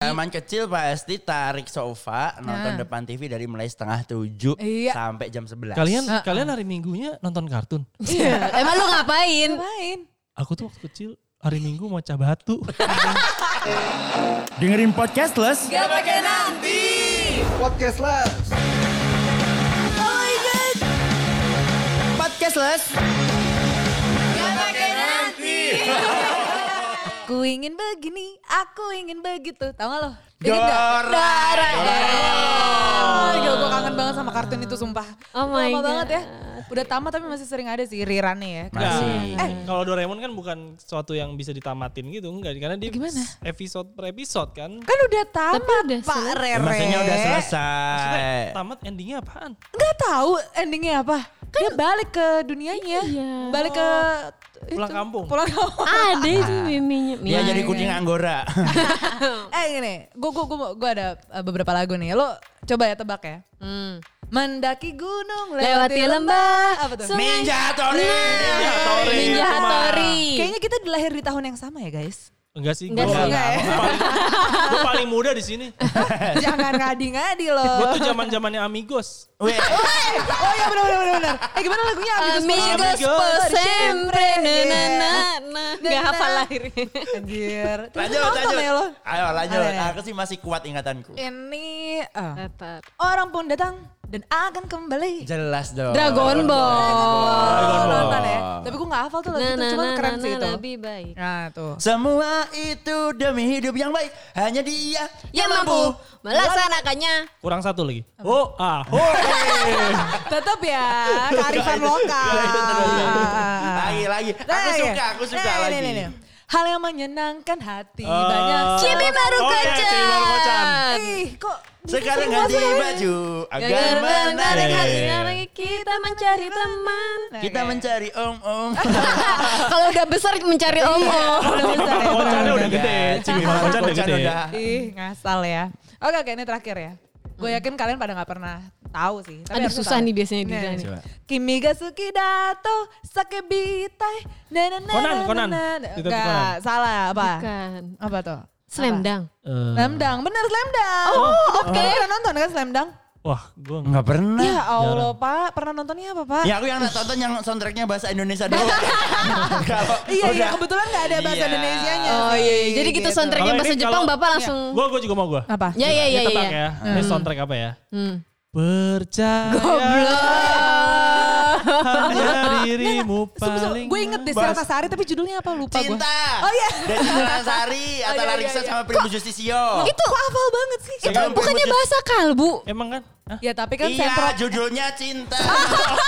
Zaman kecil pasti tarik sofa nonton Iya. Nah. depan TV dari mulai setengah tujuh Iya. sampai jam sebelas. Kalian Ah, ah. kalian hari Minggunya nonton kartun. Emang lu Iya. ngapain? Main. Aku tuh waktu kecil hari Minggu mau batu. dengerin podcast les? Podcast lah. Podcast les. Aku ingin begini, aku ingin begitu. Tahu gak lo? Ingat nggak? Doraemon. Doraemon. Gila gue kangen banget sama kartun itu sumpah. Oh Itu my lama God. banget ya. Udah tamat tapi masih sering ada sih rirannya ya. Masih. Kalau Doraemon kan bukan sesuatu yang bisa ditamatin gitu, enggak karena dia Gimana? episode per episode kan. Kan udah tamat Tapi udah Pak selesai. Rere. Ya, maksudnya udah Maksudnya, selesai. tamat endingnya apaan? Gak tahu endingnya apa. Dia balik ke dunianya. Kan- Iya. Balik ke Pulang itu, kampung. Pulang kampung. Ada itu miminya. Dia jadi kucing anggora. eh gini, gue gua, gua, gua ada uh, beberapa lagu nih. Lo coba ya tebak ya. Hmm. Mendaki gunung Lewati lewati, lembah. lembah. Apa tuh? Sungai. Ninja Hattori. Nah, Ninja Hattori. Ninja Hattori. Kayaknya kita lahir di tahun yang sama ya guys. Enggak sih, Enggak gua- sih. Enggak ya? gua paling, gua paling muda di sini. Jangan ngadi-ngadi loh. Gue tuh zaman zamannya Amigos. Weh, Eh, oh iya benar benar benar, benar. Eh gimana lagunya Amigos Amigos Amigos. po sempre na na na na. Gak Na, na. hafal lahirnya. Anjir. Terus Lanjut, nonton lanjut. ya lo. ya? Eh. Ayo lanjut. Ayo, ayo. Aku sih masih kuat ingatanku. Ini ah. Tetap. orang pun datang dan akan kembali. Jelas dong. Dragon Ball. Oh, Dragon Ball. nonton ya. Tapi gue gak hafal tuh lagu Na itu, na cuman na keren na sih na itu. lebih baik. Nah tuh. Semua itu demi hidup yang baik. Hanya dia Yang mampu melaksanakannya. Kurang satu lagi. Oh, iya. Ah, Tetap ya, kearifan lokal. Ah, lagi lagi. Aku Nah, suka, aku suka nah, lagi. Oh. ini, ini, ini. Hal yang menyenangkan hati Eh, banyak. Cibi baru Oh, iya, kocan. Cibi baru kocan. Ih, kok Sekarang ganti baju agar Agar menarik menarik. hati lagi kita mencari teman. Kita mencari om-om. Kalau udah besar mencari om-om. Kocannya udah gede. Cimi Kocan udah Kocan gede. Iya. udah. ya, Ih, ngasal ya. Oke, oke ini terakhir ya. Gue Hmm. yakin kalian pada nggak pernah tahu sih. Tapi Aduh harusnya susah tahu. Iya, nih biasanya Dira nih. Coba. Kimiga Sukidato, Sakebitai, na na na Konan, na Konan. na na. Itu Nggak, Konan. salah apa? Bukan. Apa tuh? Apa? Slam dunk. Eh, Slam Dunk, bener Slam Dunk. Oh, oke. Kamu Pernah nonton kan Slam Dunk? Wah, gue Enggak pernah. Ya Allah Pak, pernah nontonnya apa Pak? Ya aku yang nonton yang soundtracknya bahasa Indonesia doang. Kalau Iya, iya, udah- kebetulan nggak ada bahasa Iya. Indonesianya. Oh iya, iya. jadi gitu soundtracknya Kalau bahasa ini Jepang kalau- Bapak langsung. Gue gue juga mau gue. Apa? Ya Iya. ya ya Ini ya. tebak ya. ya. Ini soundtrack apa ya? Hmm. Percaya hanya dirimu paling. Gue inget deh Sarah Sari tapi judulnya apa lupa gue. Cinta. Oh iya. Dan Cinta Sari, Atta iya, Larissa iya, iya. sama Primus Justisio. Itu Kok hafal banget sih? itu bukannya bahasa kalbu. Iya, Emang kan? Hah? Ya tapi kan Iya, sentro judulnya Cinta.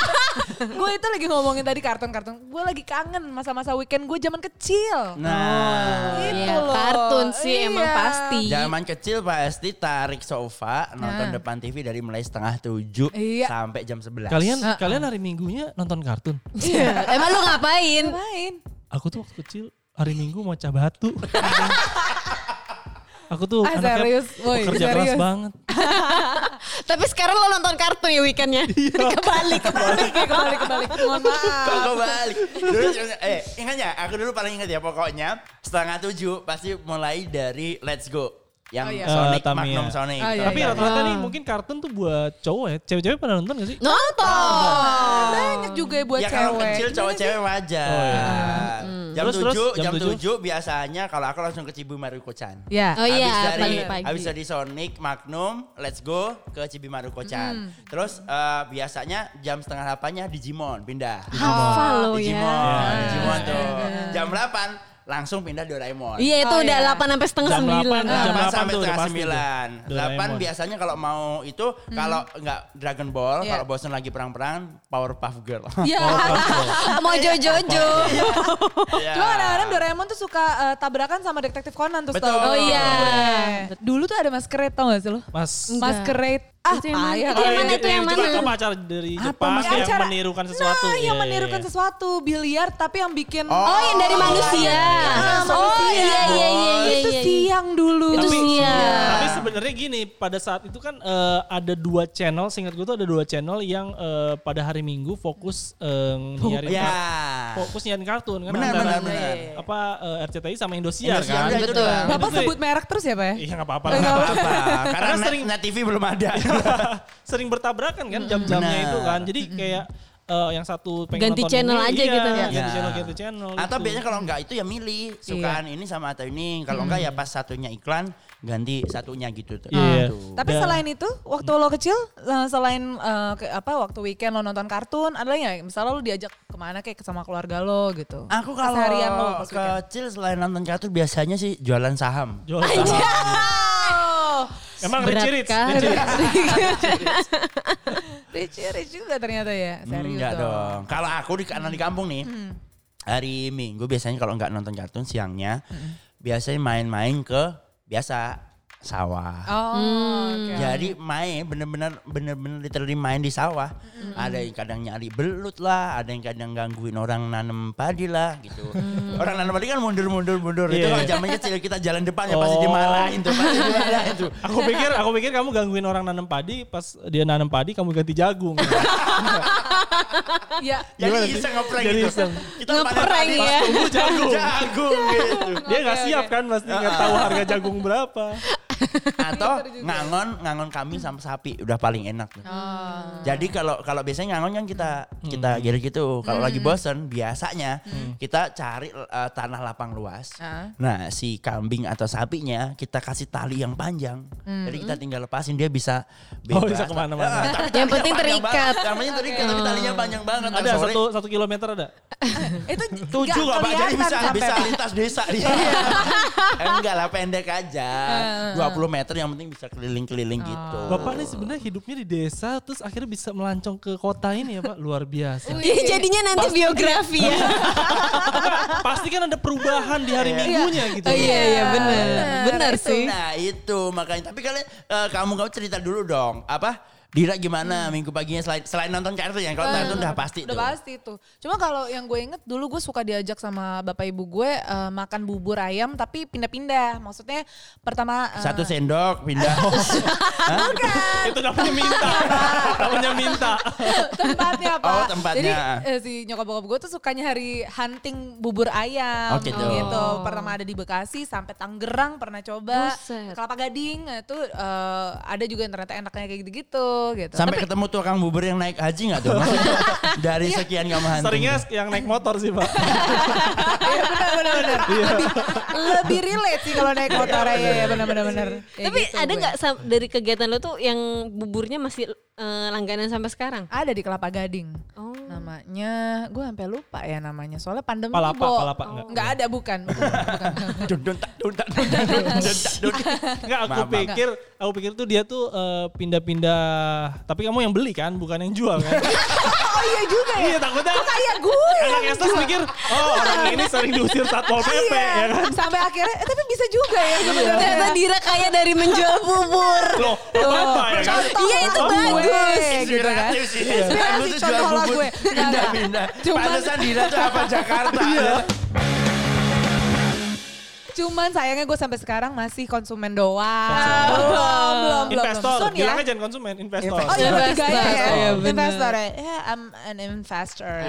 gue itu lagi ngomongin tadi kartun-kartun. Gue lagi kangen masa-masa weekend gue zaman kecil. Nah, Gitu Iya, loh. kartun sih emang Iya. pasti. zaman kecil pasti tarik sofa, nonton Nah. depan TV dari mulai setengah tujuh Iya. sampai jam sebelas. Kalian Nah. kalian hari Minggunya nonton kartun. Iya. Emang lu ngapain? Main. Aku tuh waktu kecil hari Minggu mau batu. Aku tuh Ah, serius? Woi, kerja keras serius. banget. Tapi sekarang lo nonton kartun ya weekendnya. Kebalik. Kebalik, kebalik, kebalik. Mohon Kok maaf. gue balik? Dulu, eh, ingat ya, aku dulu paling ingat ya pokoknya setengah tujuh pasti mulai dari Let's Go. Yang Oh, iya. Sonic, Eh, Tamiya. Magnum Sonic. gitu. Oh, iya, Tapi iya. rata-rata nih mungkin kartun tuh buat cowok ya. Cewek-cewek pada nonton gak sih? Nonton. Banyak juga ya buat ya cewek. Hmm. kalau kecil Gimana cowok sih? cewek wajar. Jam Oh, iya. Terus, terus, tujuh, jam jam tujuh? tujuh biasanya kalau aku langsung ke Cibimaru Kocan. Ya. Oh iya, habis dari paling pagi. habis dari Sonic Magnum, let's go ke Cibimaru Hmm. Kocan. Terus eh, biasanya jam setengah delapannya Digimon pindah. Hafal lo ya. Digimon, Digimon Iya, tuh. Jam delapan langsung pindah Doraemon. Iya itu Oh, udah iya. 8 sampai setengah Ah. Jam 8, jam 9. Delapan sampai 8 tuh udah setengah pasti sembilan. tuh. Delapan Doraemon. biasanya kalau mau itu kalau nggak Dragon Ball, Hmm. Iya. kalau bosen lagi perang-perang, Powerpuff Girl. Ya. Mau jojo-jo. Iya. Cuma kadang-kadang Doraemon tuh suka eh, tabrakan sama detektif Conan tuh Betul. Oh, setahu gue. iya. Betul. Dulu tuh ada maskerade tau gak sih lo? Mas. Iya, Maskerade. Ah, Itu yang mana? payah Itu yang kali. mana? Itu yang Jepang mana? Apa acara dari Apa, Jepang maksudnya yang acara- menirukan sesuatu? Nah, Iya, yang iya, menirukan iya. sesuatu. Biliar tapi yang bikin... Oh yang dari manusia. iya, Oh iya iya iya iya. Itu iya. siang dulu. Itu Tapi- Iya. siang. Tapi seben, sebenarnya gini pada saat itu kan eh, ada dua channel singkat gue tuh ada dua channel yang eh, pada hari minggu fokus eh, nyiarin Ya. kar- fokus nyiarin kartun kan Benar, antara benar, benar. apa eh, RCTI sama Indosiar, Indosiar, iya, kan udah, itu Betul. doang. Bapak Itu sih- sebut merek terus ya Pak ya? iya nggak apa-apa Eh, lah nggak Apa? Karena Karena net, sering- Iya. net TV belum ada. sering bertabrakan kan jam-jamnya Benar. itu kan jadi kayak eh, yang satu pengen Ganti nonton channel ini, aja iya, gitu ya. ganti Ya. channel ganti channel Atau gitu. biasanya kalau enggak itu ya milih sukaan Iya. ini sama atau ini. Hmm. Kalau enggak ya pas satunya iklan ganti satunya gitu tuh. Iya. Gitu. Tapi Dan- selain itu, waktu lo kecil, eh, selain eh, ke- apa waktu weekend lo nonton kartun, ada nggak? Misalnya lo diajak kemana kayak sama keluarga lo gitu? Aku kalau Keseharian lo pas weekend. kecil selain nonton kartun biasanya sih jualan saham. Jual saham. Emang Berat Richie Rich, kan? Richie Rich. Rich, rich juga ternyata ya, serius Enggak dong. dong. Kalau aku di karena di kampung nih. Hari Minggu biasanya kalau nggak nonton kartun siangnya biasanya main-main ke biasa sawah. Oh, oke. Jadi main bener-bener bener-bener literally main di sawah. Ada yang kadang nyari belut lah, ada yang kadang gangguin orang nanam padi lah gitu. Orang nanam padi kan mundur-mundur mundur. Itu Iya, kalau iya. zaman kecil kita jalan depan ya pasti Oh. dimarahin tuh, pasti dimarahin tuh. Aku pikir, aku pikir kamu gangguin orang nanam padi, pas dia nanam padi kamu ganti jagung. Oh, Ya, Jadi Gimana sih? iseng ngeprank Jadi gitu. iseng. Kita panen Ngeprank padi, ya. pas tumbuh jagung. jagung gitu. Ah, dia nggak Oke, siap oke. kan, pasti nggak tahu harga jagung berapa. atau ngangon ngangon kami sama sapi udah paling enak tuh. Oh. Jadi kalau kalau biasanya ngangon kan kita kita Hmm. gitu gitu. Kalau Hmm. lagi bosen biasanya kita cari eh, tanah lapang luas. Ah. Nah, si kambing atau sapinya kita kasih tali yang panjang. Jadi kita tinggal lepasin dia bisa Oh, bisa kemana-mana. Eh, tapi Hmm. Yang talinya penting panjang terikat. Oh. banget. Yang penting terikat tapi talinya panjang banget. Ada Ntar sore satu satu kilometer ada. Ah. itu tujuh nggak nggak pak jadi kelihatan bisa sampai- Iya. bisa lintas desa dia Eh, enggak lah pendek aja 20 meter yang penting bisa keliling-keliling gitu Oh. Bapak ini sebenarnya hidupnya di desa, terus akhirnya bisa melancong ke kota ini ya Pak, luar biasa. Jadi Ya, jadinya nanti biografi ya. Pasti kan ada perubahan di hari Iya. minggunya gitu. Oh, iya iya benar. Benar Itu, sih. nah itu makanya tapi kalian eh, kamu kamu cerita dulu dong apa Dira gimana minggu paginya selain selain nonton kartun ya kalau kartun udah pasti Hmm. Eh, Udah tuh. pasti tuh. Cuma kalau yang gue inget dulu gue suka diajak sama bapak ibu gue eh, makan bubur ayam tapi pindah-pindah. Maksudnya pertama eh, satu sendok pindah Itu namanya minta. namanya minta. tempatnya apa? Oh, tempatnya. Jadi eh, si nyokap bokap gue tuh sukanya hari hunting bubur Oh, ayam gitu. Pertama ada di Bekasi sampai Tangerang pernah coba. Buset. Kelapa Gading eh, tuh eh, ada juga yang ternyata enaknya kayak gitu-gitu gitu. sampai ketemu tukang bubur yang naik haji nggak tuh Maksudnya dari sekian kamu hunting Seringnya yang naik motor sih Pak. Iya benar-benar. Iya. Lebih, lebih relate sih kalau naik motor ya, ya benar-benar benar. Ya Iya, Tapi gitu ada gue. nggak sam- dari kegiatan lo tuh yang buburnya masih eh, langganan sampai sekarang? Ada di Kelapa Gading. Oh. Namanya, gue sampai lupa ya namanya. Soalnya pandemi Palapa, Bo. Palapa, Iya. enggak. Nggak ada bukan. bukan, bukan. Dun, dun, tak, dun, tak, dun, tak, dun, dun, tak, dun. Enggak aku Maaf, maaf. pikir, aku pikir tuh dia tuh eh, pindah-pindah. Tapi kamu yang beli kan, bukan yang jual kan? Oh iya juga ya. Iya takutnya. Kok kayak gue. Anak Estes mikir, oh orang ini sering diusir satpol Iya, pp ya kan? Iya. Sampai akhirnya, eh, tapi bisa juga ya Ternyata sebenarnya. Dira kaya dari menjual bubur. Loh, apa ya kan? Contoh Iya, itu lah gue, Eh, bagus. gitu kan. Inspiratif sih. Inspirasi Lu tuh contoh jual lah bubur, gue. Enggak, enggak. Pindah-pindah. Cuman- Iya. Pantesan Dira tuh apa Jakarta. Cuman sayangnya gue sampai sekarang masih konsumen doang. Konsumen. Belum, belum, belum. Iya, Investor, Soon ya. bilangnya jangan konsumen, investor. Oh iya Investor. bertiga ya. Iya, bener. Iya. investor ya. Yeah, I'm an investor.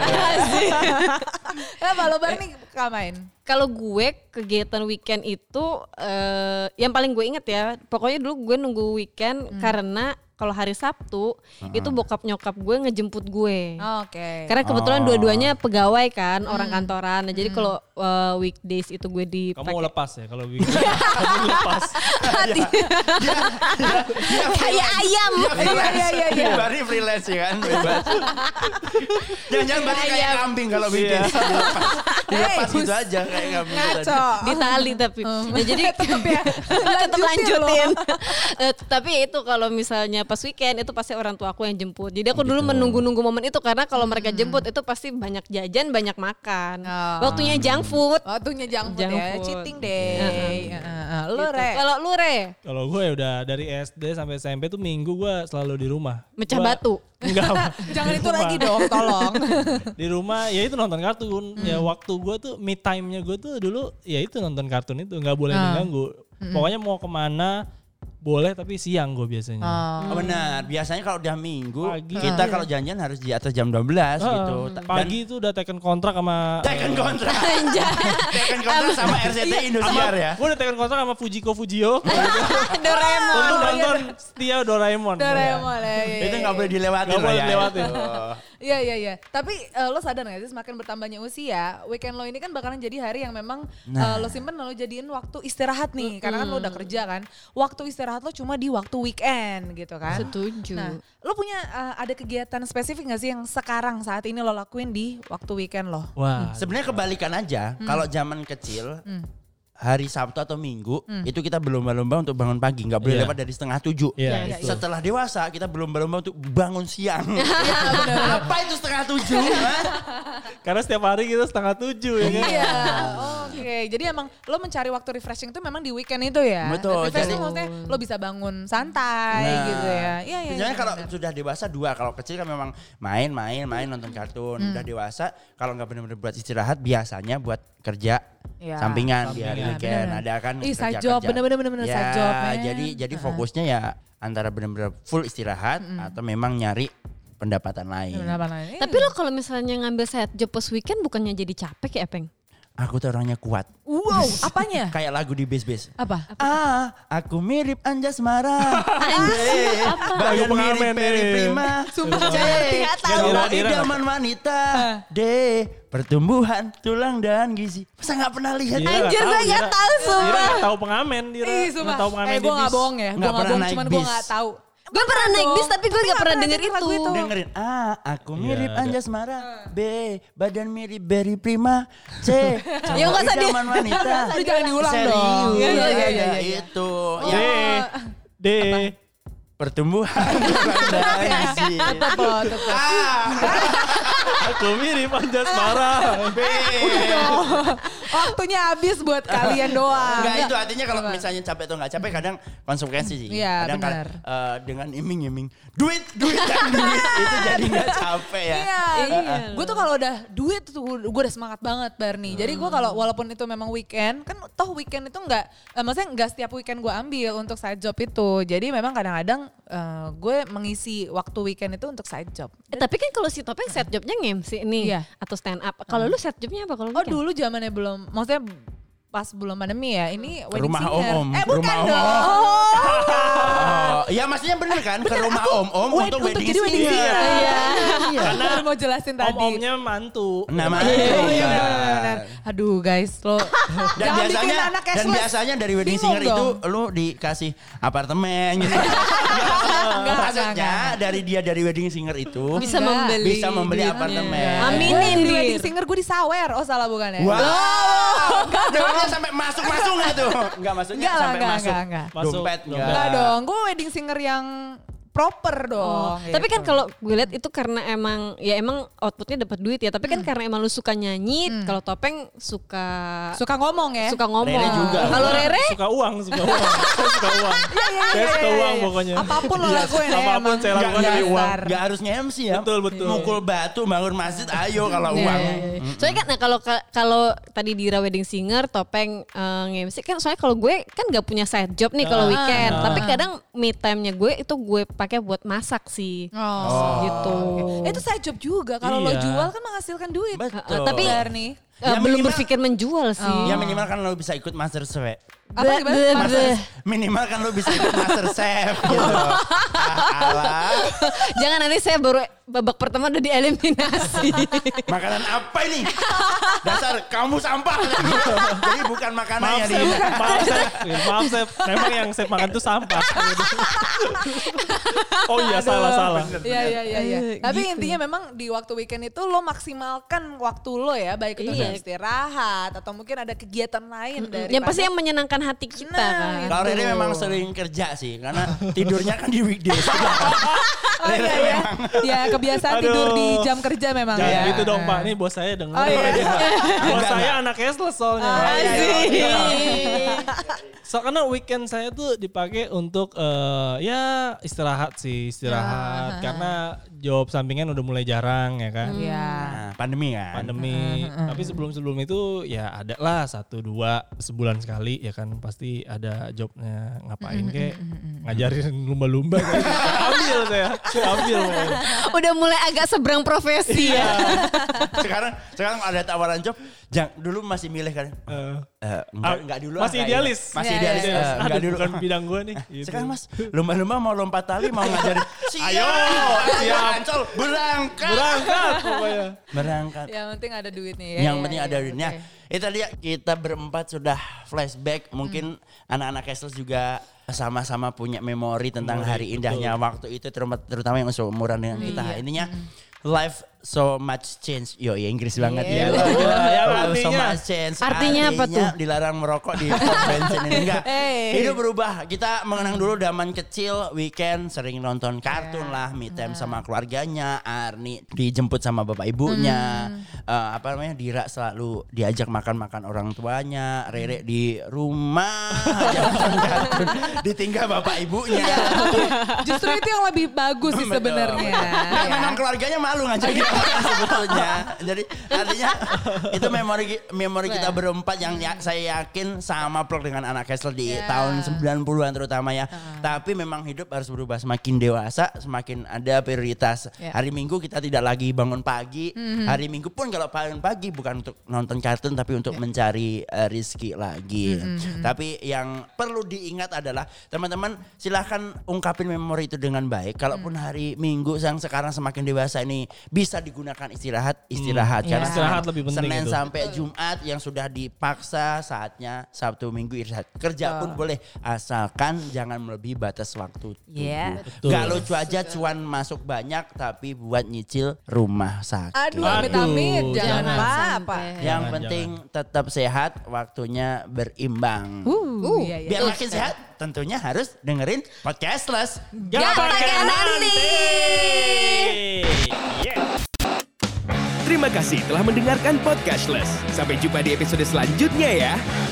Ya kalau bar nih kamain. Kalau gue kegiatan weekend itu eh, yang paling gue inget ya, pokoknya dulu gue nunggu weekend karena kalau hari Sabtu itu bokap nyokap gue ngejemput gue. Oke. Karena kebetulan Oh. dua-duanya pegawai kan, orang kantoran. Nah, jadi kalau eh, weekdays itu gue di Kamu mau lepas ya kalau gitu. Kamu lepas. hati. Kayak ayam. Iya iya iya iya. Bari freelance ya kan. Iya. bebas. Jangan-jangan Bari kayak Ayam. kambing kalau bikin. Dilepas gitu aja kayak kambing. gitu aja. Ngaco. di tali tapi nah, jadi Tetep ya. tetap Lanjutin loh. lanjutin Eh, tapi ya itu kalau misalnya pas weekend itu pasti orang tua aku yang jemput jadi aku dulu menunggu-nunggu momen itu karena Hmm. kalau mereka jemput itu pasti banyak jajan banyak makan Oh. waktunya junk food Oh tuh nyejang food Junk ya. food. Cheating deh. Heeh, heeh. Lu Gitu. re. kalau lu re Kalau gue ya udah dari SD sampai SMP tuh minggu gue selalu di rumah. Mecah Gua- batu. Enggak. Pak. Jangan Di itu rumah. lagi dong tolong. Di rumah ya itu nonton kartun. Hmm. Ya waktu gue tuh Ah. me Hmm. time-nya gue tuh dulu ya itu nonton kartun itu nggak boleh diganggu. Pokoknya mau kemana boleh tapi siang gue biasanya. Oh, Oh. benar. Biasanya kalau udah minggu Pagi. kita kalau janjian harus di atas jam 12 gitu. Ah, Pagi itu udah teken kontrak sama Dan Tekken kontrak. Tekken kontrak sama Iya. RCTI Indosiar ya. Gue udah teken kontrak sama Fujiko Fujio. Doraemon. Untuk nonton setia Doraemon. Ah, iya. Doraemon ya. ya, ya, Itu ya. nggak boleh dilewatin. Iya. Nggak lah boleh ya. dilewatin. Aduh. Iya iya iya. Tapi eh, lo sadar gak sih semakin bertambahnya usia, weekend lo ini kan bakalan jadi hari yang memang Nah. eh, lo simpen dan lo jadiin waktu istirahat nih. Karena kan lo udah kerja kan. Waktu istirahat lo cuma di waktu weekend gitu kan. Setuju. Nah, lo punya eh, ada kegiatan spesifik gak sih yang sekarang saat ini lo lakuin di waktu weekend lo? Wah. Sebenarnya kebalikan aja. Hmm. Kalau zaman kecil hari Sabtu atau Minggu itu kita berlomba-lomba untuk bangun pagi, nggak boleh Hmm. Iya. lewat dari setengah tujuh. Iya, Iya, betul. Setelah dewasa kita berlomba-lomba untuk bangun siang. Iya, kan? Apa itu setengah tujuh? Iya, Mas? Karena setiap hari kita setengah tujuh ya kan. Iya, oke. Jadi emang lo mencari waktu refreshing itu memang di weekend itu ya. Betul, Refreshing jadi- maksudnya lo bisa bangun santai Nah, gitu ya. Iya iya. Sebenarnya iya, kalau benar. sudah dewasa dua, kalau kecil kan memang main, main, main nonton Hmm. kartun. Udah dewasa kalau nggak benar-benar buat istirahat biasanya buat kerja Iya. sampingan biar Sampingan. weekend Benar. ada kan Ih, kerja-kerja. side job, benar-benar, benar-benar ya, side job, man. jadi jadi fokusnya ya antara benar-benar full istirahat atau memang nyari pendapatan lain. Kenapa lain? Iya. Tapi lo kalau misalnya ngambil set job pas weekend bukannya jadi capek ya, Peng? Aku tuh orangnya kuat. Wow, apanya? Kayak lagu di base-base. Apa? Ah, aku mirip Iya, Anjas Mara. Anjay, bagian Lagu pengamen mirip Peri nih. Prima. Iya. Sumpah, C, saya ngerti, nggak tahu. Ah. cowok Dira, Dira. iya. idaman wanita. D, pertumbuhan, tulang dan gizi. Masa nggak pernah lihat? Dira Anjir, Iya, nggak saya nggak Dira. tahu, Dira sumpah. nggak tahu pengamen, Dira. Ih, Nggak sumpah. tahu pengamen eh, gue di gak bis. bohong ya. Gue Nggak gak pernah bohong, naik cuman gue bis. gak tahu. Gue pernah naik bis tapi gue gak pernah denger denger itu. lagu itu. Dengerin, A, aku Iya, mirip ada. Anjas Mara. B, badan mirip Berry Prima. C, Ya, nggak cowok usah di- idaman wanita. Lu jangan diulang dong. Serius, Iya, iya, iya, ada iya, iya. Itu. D, Ya, D, pertumbuhan, tulang dan gizi. Oh, tuh. Ah, aku mirip Anjas Marah. B. Waktunya habis buat kalian doang. Enggak itu ya. artinya kalau misalnya capek atau nggak capek kadang konsekuensi sih. Iya, kadang benar. kal- eh, dengan iming-iming duit, duit dan duit itu jadi nggak capek ya. Iya, Iya. gue tuh kalau udah duit tuh gue udah semangat banget Barney. Jadi gue kalau walaupun itu memang weekend, kan toh weekend itu nggak, eh, maksudnya nggak setiap weekend gue ambil untuk side job itu. Jadi memang kadang-kadang eh, gue mengisi waktu weekend itu untuk side job. Eh, tapi kan kalau si Topeng set jobnya nge-MC nih Iya. atau stand up. Kalau lu set jobnya apa kalau Oh gitu. weekend? dulu zamannya belum, maksudnya pas belum pandemi ya. Ini wedding rumah singer. om-om, Eh bukan rumah dong. Oh, ya maksudnya bener kan ke rumah om-om Wed- untuk, wedding jadi wedding singer. singer. Iya. Iya. Baru mau jelasin tadi. Om-omnya mantu. Nah, makanya. Iya, benar-benar. Aduh guys, lo Dan jangan bikin biasanya anak dan cashless. biasanya dari wedding Bingung singer dong. itu lu dikasih apartemen gitu. enggak, Maksudnya enggak. dari dia dari wedding singer itu bisa Enggak. membeli. bisa membeli apartemen. Amin. Gue jadi Dir. wedding singer gue disawer. Oh salah bukan ya? Wow. Dengarnya sampai masuk-masuk nggak tuh? Enggak maksudnya Enggak lah, sampai enggak, masuk. Ah. enggak, enggak. Masuk. Dompet enggak. Enggak dong, gue wedding singer yang Oh, proper dong. gitu. Tapi kan kalau gue lihat itu karena emang ya emang outputnya dapat duit ya. Tapi kan karena emang lu suka nyanyi, kalau Topeng suka suka ngomong ya. suka ngomong. Rere juga. Kalau Rere Suka uang, suka uang. Saya suka uang. Iya, Saya suka uang pokoknya. Apapun Iya. lo lakuin iya. ya. Apapun emang. saya Enggak, lakukan dari enggak, uang. Dasar. enggak harus nge-MC ya. Betul, betul. Mukul batu bangun masjid ayo kalau Iya, uang. iya, iya. Soalnya kan nah kalau ka- kalau tadi Dira wedding singer, topeng eh, nge-MC kan soalnya kalau gue kan nggak punya side job nih kalau weekend, Ah. tapi kadang me time-nya gue itu gue pakai buat masak sih. Oh. Gitu. Eh, Itu saya job juga kalau lo Iya. jual kan menghasilkan duit. Betul. Eh, tapi Benar nih. eh, Ya, minimal- belum berpikir menjual sih. Ya minimal kan lo bisa ikut master chef. Apa Be- gimana? be- Mas- be- Minimal kan lo bisa ikut master chef gitu. Ah, alah. Jangan nanti saya baru babak pertama udah dieliminasi. Makanan apa ini? Dasar kamu sampah. Jadi bukan makanan Maaf yang Sep, diingat. maaf Sep, Iya, maaf Sep. Memang yang Sep makan tuh sampah. oh iya salah salah. Iya iya iya iya. Eh, Tapi gitu. intinya memang di waktu weekend itu lo maksimalkan waktu lo ya, baik itu Iya. untuk istirahat atau mungkin ada kegiatan lain dari yang pasti yang menyenangkan hati kita Nah, kan. Kalau Rere memang sering kerja sih, karena tidurnya kan di weekdays. Rere ya. memang. ya kebiasaan tidur Aduh. di jam kerja memang Jangan ya. gitu dong Pak, ini bos saya denger. Oh, iya. bos Enggak, saya anak cashless Ah, soalnya. Iya, So, karena weekend saya tuh dipakai untuk eh, ya istirahat sih, Ya. istirahat. Karena job sampingan udah mulai jarang ya kan. Iya. Nah, pandemi kan. pandemi. Tapi sebelum-sebelum itu ya ada lah satu dua sebulan sekali ya kan pasti ada jobnya ngapain kek ngajarin lumba-lumba kan. ambil saya ambil saya. Udah mulai agak seberang profesi ya. Iya. sekarang sekarang ada tawaran job jang dulu masih milih kan Eh, Eh, ah, enggak, enggak dulu ah, masih enggak, idealis enggak. masih Iya, idealis iya, eh, Aduh, enggak dulu bukan Ah, bidang gue nih gitu. sekarang mas lumba-lumba mau lompat tali mau ngajarin Ayo, ayo siap. ancol berangkat berangkat pokoknya berangkat Iya, Yang penting ada duitnya ya. yang ya, penting ya, ada duitnya. oke. Itu dia kita berempat sudah flashback. Mungkin Hmm. anak-anak Castle juga sama-sama punya memori tentang hari indahnya waktu itu terutama, terutama yang seumuran dengan Hmm, kita. iya. Intinya life so much change. Yo, ya Inggris banget Iya. ya. Gila, gila. Ya, Life so artinya. much change. Artinya apa tuh? dilarang merokok di pom bensin ini enggak. Hey. Hidup berubah. Kita mengenang dulu zaman kecil, weekend sering nonton kartun lah, me time sama keluarganya, Arni dijemput sama bapak ibunya. Eh, apa namanya? Dira selalu diajak makan-makan orang tuanya, Rere di rumah aja nonton kartun, ditinggal bapak ibunya. Justru itu yang lebih bagus sih Betul, sebenarnya. betul. Nah, Iya. memang keluarganya malu ngajakin makan sebetulnya. Jadi artinya itu memori memori kita berempat yang ya- saya yakin sama plek dengan anak Kessel di Ya. tahun 90-an terutama ya. Tapi memang hidup harus berubah semakin dewasa, semakin ada prioritas. Ya. Hari Minggu kita tidak lagi bangun pagi. Mhm. Hari Minggu pun kalau bangun pagi bukan untuk nonton kartun tapi Ya. untuk mencari eh, rizki lagi. Mhm, Tapi yang perlu diingat adalah teman-teman silahkan ungkapin memori itu dengan baik. Kalaupun Mhm. hari Minggu yang sekarang semakin dewasa ini bisa digunakan istirahat, istirahat. Hmm. Karena Ya. Istirahat lebih penting Senin itu. sampai Jumat yang sudah dipaksa saatnya Sabtu Minggu istirahat. Kerja pun boleh asalkan jangan melebihi batas waktu. Iya. Betul. Gak lucu aja cuan masuk banyak tapi buat nyicil rumah sakit. Aduh, Aduh, amit-amit. Jangan, jangan. apa-apa. Sampai. Yang Jangan, penting tetap sehat, waktunya berimbang. Uh, iya, iya. Biar makin sehat, tentunya harus dengerin podcastless. Gak pakai Terima kasih telah mendengarkan Podcastless. Sampai jumpa di episode selanjutnya ya.